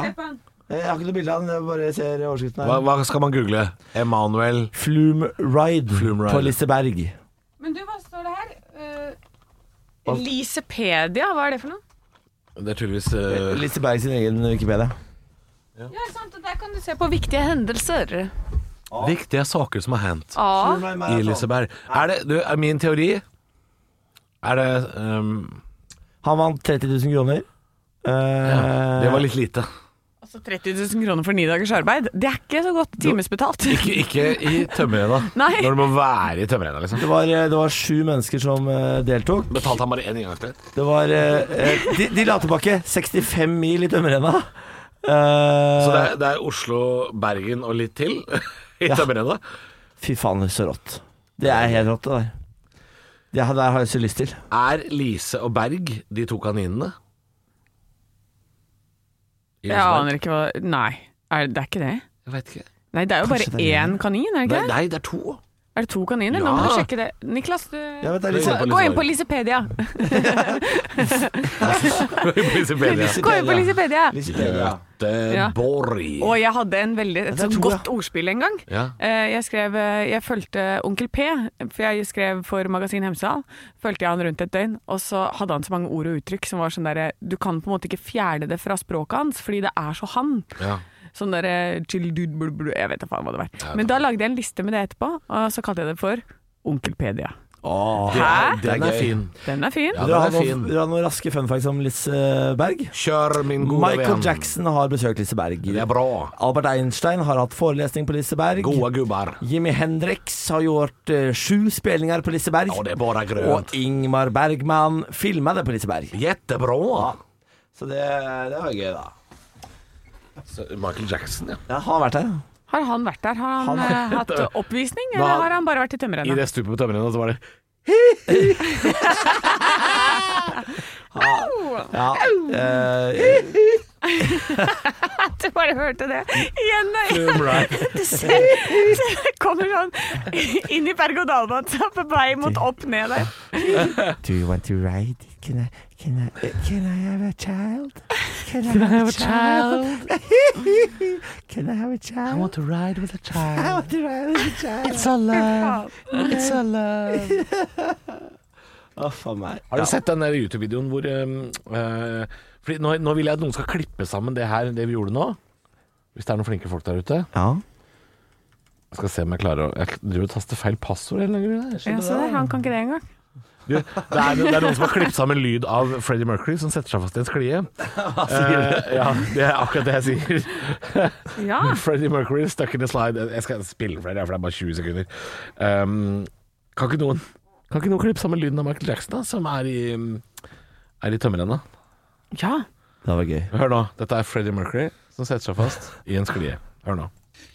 S2: Eh, Jeg har ikke noe bilde av han, jeg bare ser overskriften
S1: Hva,
S2: her.
S1: hva skal man google? Emanuel
S2: Flumride
S1: Flume
S2: på
S1: Ride.
S2: Liseberg.
S3: Men du, hva står det her? Lisepedia, hva er det for noe?
S1: Det er tydeligvis eh,
S2: Liseberg sin egen Wikipedia.
S3: Ja, sant, og Der kan du se på viktige hendelser.
S1: viktige saker som har hendt
S3: Ja.
S2: Flumride
S1: i
S2: Marathon.
S1: Liseberg. Er det du, er min teori Er det ehm,
S2: Han vant 30 000 kroner. Eh,
S1: Det var litt lite.
S3: Altså 30 000 kroner for ni dagers arbeid, det er ikke så godt timesbetalt.
S1: Ikke, ikke i tømmerrenna.
S3: Nei.
S1: Når du må være i tømmerrenna, liksom.
S2: Det var, eh, det var sju mennesker som eh, deltok.
S1: Betalte han bare én inngangsbillett?
S2: Det var eh, eh, de, de la tilbake 65 mil i tømmerrenna. Eh,
S1: Så det er, det er Oslo, Bergen og litt til i tømmerrenna?
S2: Fy faen, så rått. Det er helt rått, det der. Det her- der har jeg så lyst til.
S1: Er Lise og Berg de to kaninene? I
S3: Jeg
S1: Rosenborg?
S3: aner ikke hva Nei, er, det er ikke det.
S1: Jeg vet ikke.
S3: Nei, det er jo
S2: Kanskje
S3: bare
S2: det er
S3: én kanin, er det
S1: Nei,
S3: ikke det?
S1: nei, det er to.
S3: Er det to kaniner? Nå
S1: Ja.
S3: må du sjekke det. Niklas, du
S2: Jeg vet, det er
S1: Det
S2: litt
S1: er
S2: sånn-
S1: på
S3: Gå inn på
S1: Liseberg.
S3: Lisepedia.
S1: Lisepedia.
S3: Gå inn på Lisepedia.
S2: sånn- litt bedre,
S3: Ja.
S1: Göteborg.
S3: Og jeg hadde en veldig, et
S2: det er
S3: sånt
S2: to, ja.
S3: godt ordspill en gang.
S1: Ja.
S3: Eh, Jeg skrev eh, Jeg fulgte Onkel P, for jeg skrev for Magasin Hemsedal. Fulgte jeg han rundt et døgn, og så hadde han så mange ord og uttrykk som var sånn derre Du kan på en måte ikke fjerne det fra språket hans, fordi det er så han.
S1: Ja.
S3: Sånn derre chill dude blu, blu, Jeg vet da faen hva det var. Men da lagde jeg en liste med det etterpå, og så kalte jeg det for Onkelpedia.
S2: ja. Åh.
S1: Det er,
S3: Hæ?
S1: den er fin.
S3: Den er fin.
S1: Ja,
S2: Dere har
S1: den er
S2: noen,
S1: fin.
S2: dere har noen raske fun facts om Liseberg.
S1: Kjør, min gode
S2: Michael
S1: venn.
S2: Jackson har besøkt Liseberg.
S1: Det er bra.
S2: Albert Einstein har hatt forelesning på Liseberg.
S1: Gode gubbar.
S2: Jimmy Hendrix har gjort eh, sju spillinger på Liseberg.
S1: Ja, det er bare
S2: og
S1: grønt.
S2: Ingmar Bergman filma det på Liseberg.
S1: Jettebra.
S2: Så det, det var gøy, da.
S1: Så Michael Jackson, ja.
S2: Jeg har vært der.
S3: Har han vært der? Har han, eh, hatt oppvisning,
S1: Nå
S3: eller
S1: har-
S3: har han bare vært
S1: I
S3: i tømmerrenna?
S1: det stupet på tømmerrenna så var det
S2: Ja. eh,
S3: At du bare hørte det
S1: Mm.
S3: igjen og igjen.
S1: Right.
S3: Du ser, det kommer sånn inn i berg-og-dal-banen på vei mot opp ned der.
S2: Do you want to ride? Can I, can I, eh, can I have a child? Can I, have, a child? can I have a child? I want to ride with a child. I want to ride with a child. It's all
S3: Faen.
S2: Uff a meg.
S1: Har du sett den der YouTube-videoen hvor ehm, eh, fordi nå, nå vil jeg at noen skal klippe sammen det her, det vi gjorde nå. Hvis det er noen flinke folk der ute.
S2: Ja.
S1: Jeg skal se om jeg klarer å Jeg driver og taster feil passord eller noe. greier.
S3: Ja, se der, han kan ikke det engang.
S1: Du, det, er, det er noen som har klippet sammen lyd av Freddie Mercury som setter seg fast i en sklie. Eh, ja, det er akkurat det jeg sier.
S3: Ja.
S1: Freddie Mercury stuck in a slide. Jeg skal spille for dere, for det er bare 20 sekunder. Um, kan, ikke noen, kan ikke noen klippe sammen lyden av Michael Jackson, da, som er i, um, er i tømmerrenna?
S3: ja.
S2: Det var gøy.
S1: Hør nå. Dette er Freddie Mercury som setter seg fast i en sklie. Hør nå.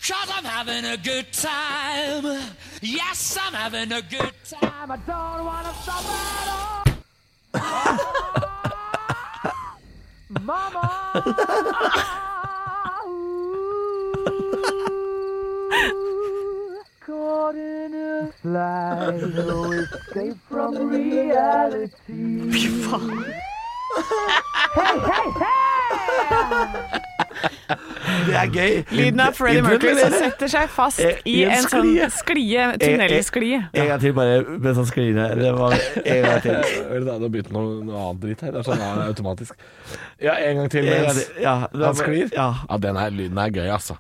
S4: Cause I'm having a good time. Yes, I'm having a good time. I don't want to stop at all.
S3: Fy faen.
S2: Det er gøy.
S3: Lyden av Freddie Mercury som setter seg fast i
S2: I en
S3: en sånn
S2: sklie.
S3: sklie, tunnelsklie.
S2: En gang til, bare mens han sklir ned. Det var en gang til.
S1: Hør, Det har begynt noe, noe annet dritt her. Det er sånn det er automatisk. Ja, en gang til.
S2: En gang
S1: mens-
S2: til. Ja, det var-
S1: Han sklir?
S2: Ja.
S1: ja den her lyden er gøy, altså.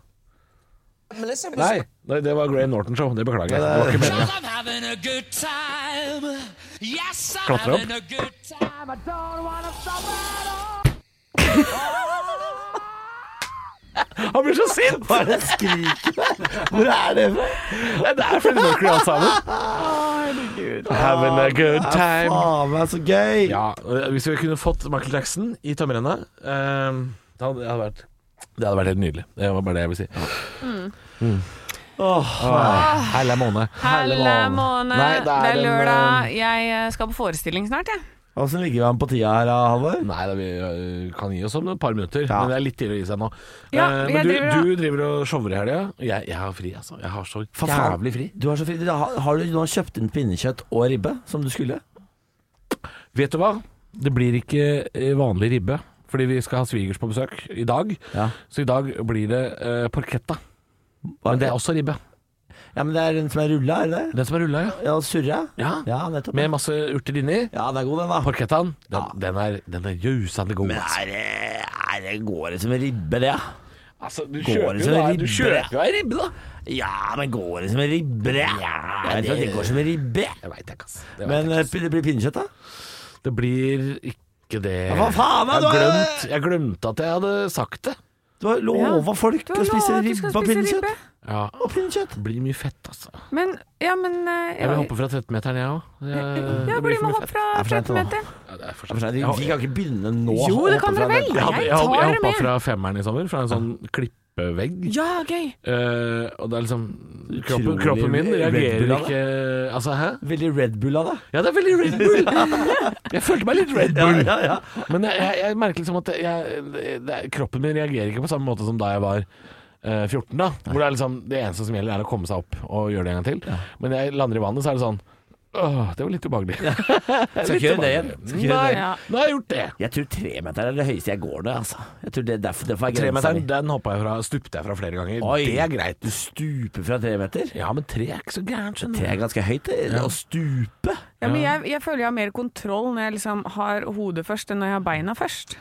S4: Melissa was
S1: Nei, nei, det var Graham Norton Show. Det beklager jeg. Det var ikke meningen.
S4: Cause I'm having a good time. Yes, I'm
S1: Klatre opp.
S4: having a good time. I don't want to stop at all.
S1: Han blir så sint!
S2: Hva er det skriket der? Hvor er det fra?
S1: Nei, Det er Freddie Mercury alt sammen. Having a good time.
S2: Faen meg, så gøy.
S1: Ja, Hvis vi kunne fått Michael Jackson i tømmerrenna, ehm, det hadde det hadde vært det hadde vært helt nydelig. Det var bare det jeg ville si.
S2: Åh,
S1: Helle Ah, måne.
S3: Helle måne,
S1: Nei,
S3: det er
S1: en,
S3: lørdag.
S1: eh,
S3: Jeg eh, skal på forestilling snart, jeg.
S2: Åssen ligger vi an på tida her, da, Halvor?
S1: Nei, da, vi eh, kan gi oss om et par minutter,
S2: Ja.
S1: men det er litt tidlig å gi seg nå.
S3: Ja,
S1: Eh,
S3: jeg
S1: men du
S3: driver
S1: driver,
S3: og-
S1: du driver og shower i helga. Jeg, jeg har fri, altså. Jeg har så
S2: For faen.
S1: jævlig fri.
S2: Du har, så fri, da har, har du nå kjøpt inn pinnekjøtt og ribbe, som du skulle?
S1: Vet du hva? Det blir ikke eh, vanlig ribbe, fordi vi skal ha svigers på besøk i dag.
S2: Ja.
S1: Så i dag blir det eh, porchetta. Men det er også ribbe.
S2: ja, men det er den som er rulla, er det det?
S1: Den som er rulla, ja.
S2: Ja, surra?
S1: ja.
S2: Ja, nettopp.
S1: Med masse urter inni.
S2: Ja, den er god, den, da.
S1: Porchettaen, den,
S2: Ja.
S1: den er, den er jusende god.
S2: Men
S1: altså.
S2: er det, er det Går det som en ribbe, det? ja?
S1: Altså, du
S2: går det som
S1: da-
S2: en
S1: du
S2: ribbe?
S1: kjøper jo ei ribbe, da.
S2: Ja, men går det som en ribbe, det? Ja, jeg tror det går som en ribbe.
S1: Jeg veit ikke, ass. Det, vet
S2: Men
S1: jeg
S2: eh,
S1: ikke,
S2: det blir pinnekjøtt, da?
S1: ass. det blir ikke det
S2: Hva faen, da?
S1: jeg
S2: Du har-
S1: glemte, jeg glemte at jeg hadde sagt det.
S2: Du Du har lova folk
S3: Du har
S2: å spise
S3: lovet at du skal
S2: ribbe og
S3: spise
S2: pinnekjøtt.
S3: ribbe.
S1: Ja.
S2: Og pinnekjøtt.
S1: Blir mye fett, altså.
S3: Men ja, men eh,
S1: Jeg vil
S3: ja.
S1: hoppe fra 13-meteren, jeg òg. Det-
S3: Ja,
S1: det
S3: blir
S1: for
S3: med
S1: mye
S3: hopp
S1: fett.
S3: fra
S2: Det er for sent, da.
S3: 13 meter.
S1: Ja, det er for
S2: Ja, for
S1: sent.
S2: det-
S1: Jeg,
S2: Vi kan ikke begynne nå.
S3: Jo,
S2: å
S3: det kan
S2: hoppe fra
S3: dere vel.
S1: jeg,
S2: den.
S3: Jeg
S1: hadde- jeg, hadde-
S3: tar
S1: jeg
S3: det
S1: hoppa
S3: med.
S1: fra femmeren i sommer, fra en sånn klippevegg.
S3: Ja, gøy!
S1: Eh, og det er liksom kroppen,
S2: Utrolig
S1: kroppen min
S2: Red
S1: reagerer
S2: Bull av
S1: ikke Altså, hæ?
S2: Veldig Red Bull av deg.
S1: Ja, det er veldig Red Bull! Jeg følte meg litt Red
S2: Ja,
S1: Bull.
S2: ja, ja.
S1: Men jeg, jeg, jeg merker liksom at jeg, det, er- kroppen min reagerer ikke på samme måte som da jeg var eh, 14, da. Hvor det er liksom Det eneste som gjelder, er å komme seg opp og gjøre det en gang til. Men når jeg lander i vannet, så er det sånn Åh, det var litt ubehagelig.
S2: Skal ikke gjøre det igjen. Skal ikke gjøre
S1: Nei,
S2: det.
S3: igjen.
S1: nå har jeg gjort det.
S2: Jeg tror tremeteren er det høyeste jeg går ned, altså. Jeg tror det er derfor, derfor er grensa
S1: Tremeteren,
S2: mi.
S1: den hoppa jeg fra, stupte jeg fra flere ganger.
S2: Oi.
S1: Det er greit.
S2: Du stuper fra tremeter?
S1: Ja, men tre er ikke så gærent,
S2: Tre
S1: skjønner du.
S2: er ganske høyt, det. Å stupe.
S3: Ja, men jeg, jeg føler jeg har mer kontroll når jeg liksom har hodet først enn når jeg har beina først.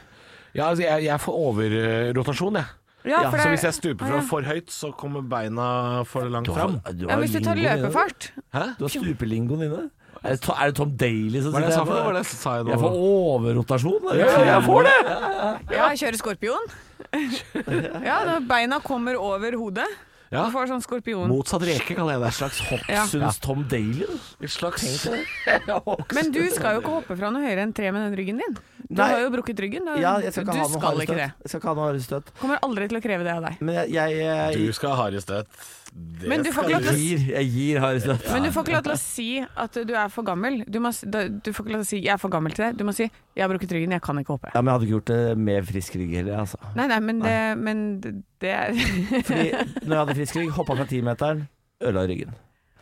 S1: Ja, altså, jeg, jeg får overrotasjon, jeg.
S3: Ja,
S1: Så hvis jeg stuper fra
S3: Ja, ja.
S1: for høyt, så kommer beina for langt
S2: Du har-
S1: fram.
S2: du
S3: ja,
S2: har
S3: Hvis du tar
S2: lingoen inne.
S3: løpefart
S1: Hæ?
S2: Du har stupelingoen inne. Er det, to- er det Tom Daly som
S1: Hva er det jeg sa
S2: her
S1: for noe? Hva er
S2: nå?
S1: det jeg sa jeg nå?
S2: Jeg får overrotasjon. da.
S1: Ja, jeg får
S2: det!
S3: Ja, jeg kjører skorpion. Ja, når beina kommer over hodet.
S1: Ja.
S3: Du får sånn skorpion.
S1: Motsatt reke kaller jeg det. Et slags hopp.
S3: Ja.
S2: Syns Tom Daly da.
S1: Et slags
S3: Men du skal jo ikke hoppe fra noe høyere enn tre med den ryggen din. Du
S2: Nei.
S3: har jo brukket ryggen. Du,
S2: Ja, jeg skal ikke
S3: du
S2: ha noe
S3: skal
S2: harde
S3: ikke det.
S2: støt. Jeg skal ikke ha noe harde støt.
S3: Kommer aldri til å kreve det av deg.
S2: Men jeg, jeg, jeg,
S1: Du skal ha harde støt. Det
S3: Men du får
S1: skal
S3: ikke lov til å
S2: gir, jeg gir harde støt.
S3: Men du får ikke lov til å si at du er for gammel. Du, må, s- da- du får ikke lov til å si 'jeg er for gammel til det'. Du må si 'jeg har brukket ryggen, jeg kan ikke hoppe'.
S2: Ja, men jeg hadde ikke gjort det med frisk rygg heller, altså.
S3: Nei, nei, men det, men det er
S2: Fordi når jeg hadde frisk rygg, hoppa fra timeteren, ødela ryggen.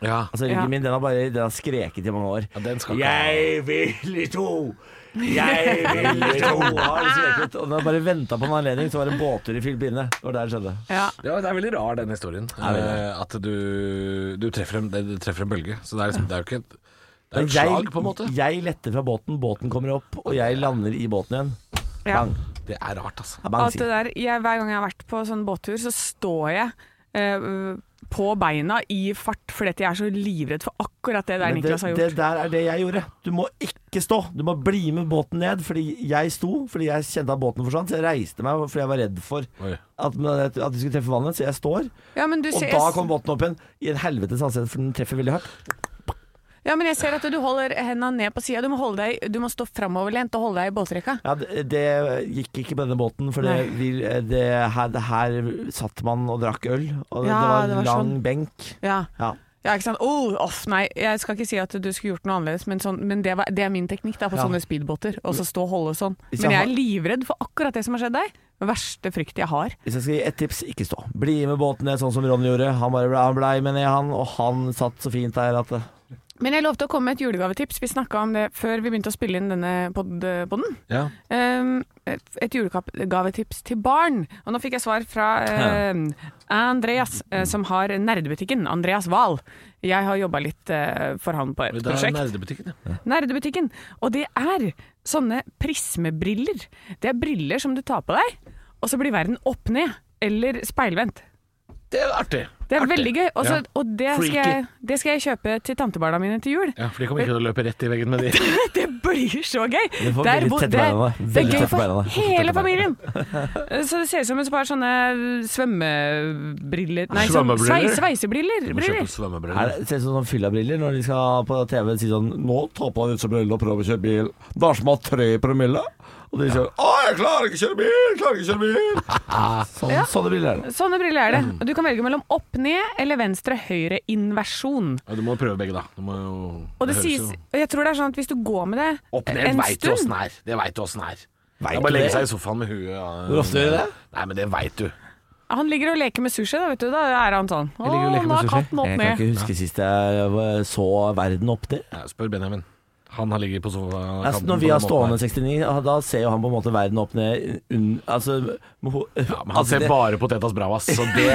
S1: Ja.
S2: Altså
S3: Ja.
S2: Ryggen min den har bare den har skreket i mange år.
S1: ja, den skal ikke ha.
S2: Jeg vil i to! Jeg vil i to! Har den skreket, og den har bare venta på en anledning, så var det en båttur i Filippinene. Det var der det skjedde.
S3: Ja.
S1: Ja, det er veldig rar, den historien.
S2: veldig
S1: Eh, at du, du, treffer en, det- du treffer en bølge. Så det er, liksom, det er jo ikke et, det er jo
S2: Men
S1: et
S2: jeg,
S1: slag, på en måte.
S2: jeg letter fra båten, båten kommer opp, og jeg lander i båten igjen.
S3: ja.
S2: Bang.
S1: Det er rart, altså.
S2: Ja, bang
S3: At det
S2: sier.
S3: der, jeg, hver gang jeg har vært på sånn båttur, så står jeg eh, på beina i fart fordi at jeg er så livredd for akkurat det der
S2: Men det,
S3: Niklas har
S2: det
S3: gjort.
S2: der er det jeg gjorde. Du må ikke stå. Du må bli med båten ned. Fordi jeg sto, fordi jeg kjente at båten forsvant. Så jeg reiste meg fordi jeg var redd for
S1: Oi.
S2: at, at de skulle treffe vannet. Så jeg står.
S3: ja, men du
S2: Og
S3: ser,
S2: da kom båten opp igjen. I en helvetes ansikt, for den treffer veldig hardt.
S3: Ja, men jeg ser at du holder hendene ned på sida. Du må, holde deg, du må stå framoverlent og holde deg i båtrekka.
S2: Ja, det, det gikk ikke på denne båten, for det,
S3: Nei.
S2: vi, det, her, det her satt man og drakk øl, og det,
S3: Ja,
S2: det var
S3: det
S2: en
S3: var
S2: lang
S3: sånn.
S2: benk.
S3: Ja.
S2: Ja.
S3: Ja, ikke sant. Oh, off, nei. Jeg skal ikke si at du skulle gjort noe annerledes, men, sånn, men det, var, det er min teknikk da, på
S2: Ja.
S3: sånne speedbåter. Og så stå og holde sånn.
S2: Hvis
S3: Men
S2: jeg
S3: jeg er livredd for akkurat det som har skjedd deg. Den verste frykt jeg har.
S2: Hvis jeg skal gi ett tips, ikke stå. Bli med båten ned, sånn som Ronny gjorde. Han bare ble, han blei med ned, han, og han satt så fint der at det-
S3: Men jeg lovte å komme med et julegavetips. Vi snakka om det før vi begynte å spille inn denne eh, podden.
S1: Ja.
S3: Um, et et julegavetips til barn. Og nå fikk jeg svar fra um, Andreas, eh, som har nerdebutikken. Andreas Wahl. Jeg har jobba litt eh, for han på et
S1: Det er
S3: prosjekt.
S1: nerdebutikken, ja.
S3: Nerdebutikken. Og det er sånne prismebriller. Det er briller som du tar på deg, og så blir verden opp ned. Eller speilvendt.
S1: Det er artig.
S3: Det er
S1: Artig.
S3: veldig gøy. Og så-
S1: Ja.
S3: Og det skal,
S1: Freaky.
S3: jeg, det skal jeg kjøpe til tantebarna mine til jul.
S1: Ja, for de kommer ikke til å løpe rett i veggen med de.
S3: Det blir så gøy!
S2: Du får
S3: Det er
S2: veldig
S3: bo-
S2: tette
S3: det-
S2: beina da.
S3: Det
S2: Veldig
S3: er gøy
S2: tette
S3: for
S2: beina da.
S3: hele familien. Så det ser ut som et par sånne svømmebriller Nei, sånn
S1: Svømmebriller?
S3: sveis, sveisebriller.
S1: Du må kjøpe
S3: briller.
S2: Er
S1: svømmebriller.
S2: det ser ut som sånn fyllabriller når de skal på TV si sånn Nå tar på deg disse brillene og prøver å kjøre bil. Det er som å ha tre promille. Og de sier Å, jeg klarer ikke å kjøre bil, jeg klarer ikke å kjøre bil. Sånn,
S3: Ja.
S2: Sånne briller er det.
S3: Sånne briller er det.
S1: Mm.
S3: Og du kan velge mellom opp, ned eller venstre, høyre inversjon.
S1: Ja, du må prøve begge, da. Du må jo
S3: Og det
S1: høres
S3: sies,
S1: jo-
S3: og jeg tror det er sånn at hvis du går med det
S1: Opp ned
S3: en
S1: veit du åssen
S3: stund
S1: det er. Det veit du åssen det er.
S2: Vet
S1: Det er
S2: du
S1: bare å legge
S2: det?
S1: seg i sofaen med huet ja.
S2: Hvor ofte gjør du det?
S1: Nei, men det veit du.
S3: Han ligger og leker med sushi, da, vet du. Da er han sånn. Å,
S1: ligger og leker
S3: nå
S1: med
S3: er
S1: sushi.
S3: katten opp
S2: Jeg kan
S3: ned.
S2: ikke huske sist jeg eh, så verden opp til.
S1: Ja, spør Benjamin. Han har ligget på sofakanten.
S2: Altså, når
S1: på
S2: vi
S1: den
S2: har
S1: måten
S2: stående
S1: her.
S2: 69, ah, da ser jo han på en måte verden opp ned unn, Altså, med ho-
S1: ja, men Han
S2: altså,
S1: ser
S2: det-
S1: bare Potetas Bravas, så det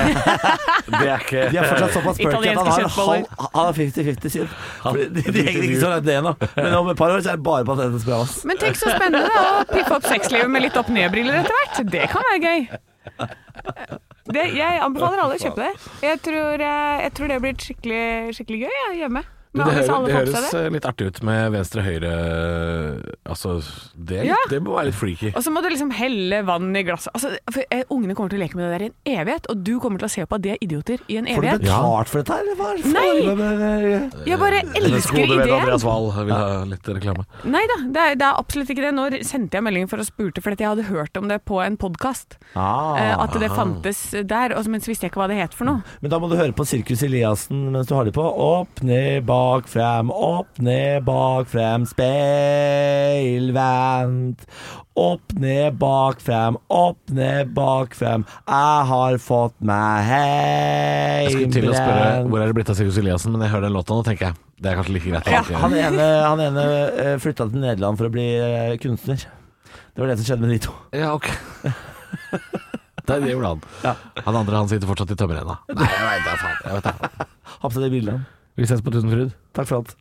S1: Det er ikke
S2: De er fortsatt såpass perky at han
S3: Italienske
S2: har
S3: kjøttboller.
S2: halv- han har 50-50 sin. Fordi De, de henger ikke så langt ned ennå, men om et par år så er det bare Patetas Bravas.
S3: Men tenk så spennende da, å piffe opp sexlivet med litt opp ned-briller etter hvert. Det kan være gøy. Det, jeg anbefaler alle å kjøpe det. Jeg tror, eh, jeg tror det blir skikkelig, skikkelig gøy ja, hjemme.
S1: Du,
S3: med
S1: det,
S3: alle, så
S1: hører,
S3: alle
S1: det
S3: får på
S1: høres
S3: seg det.
S1: eh, litt artig ut med venstre-høyre Altså, det, er
S3: Ja.
S1: litt- det må være litt freaky.
S3: Og så må du liksom helle vann i glasset. Altså, for, eh, ungene kommer til å leke med det der i en evighet, og du kommer til å se på at de er idioter i en
S2: Får du
S3: evighet.
S2: betalt for dette her? eller Hva er det for
S3: Nei.
S2: noe med det der?
S3: Jeg bare
S1: Hennes
S3: elsker
S1: gode venn
S3: ideen.
S1: Andreas Wahl vil ha litt reklame.
S3: Nei da, det er, det er absolutt ikke det. Nå sendte jeg melding for å spurte, fordi jeg hadde hørt om det på en podkast.
S2: Ah,
S3: at det fantes der, og, så- men så visste jeg ikke hva det het for noe.
S2: men da må du høre på Sirkus Eliassen mens du har det på. Opp, ned, bak, frem. Opp, ned, bak, frem. Speilvendt. Opp, ned, bak, frem. Opp, ned, bak, frem. Jeg har fått meg
S1: Jeg skulle til å spørre
S2: heimbrent.
S1: hvor er det blitt av Sigurd Eliassen, men jeg hører den låta nå, tenker jeg. Det er kanskje like greit. å
S3: Ja,
S1: alltid gjøre.
S2: Han ene, han ene eh, flytta til Nederland for å bli eh, kunstner. Det var det som skjedde med de to.
S1: Ja, ok Det er det gjorde han Han andre han sitter fortsatt i tømmerrenna Nei, jeg vet det, faen, jeg vet det
S2: Ha på deg de bildene.
S1: Vi ses på Tusenfryd
S2: Takk for alt.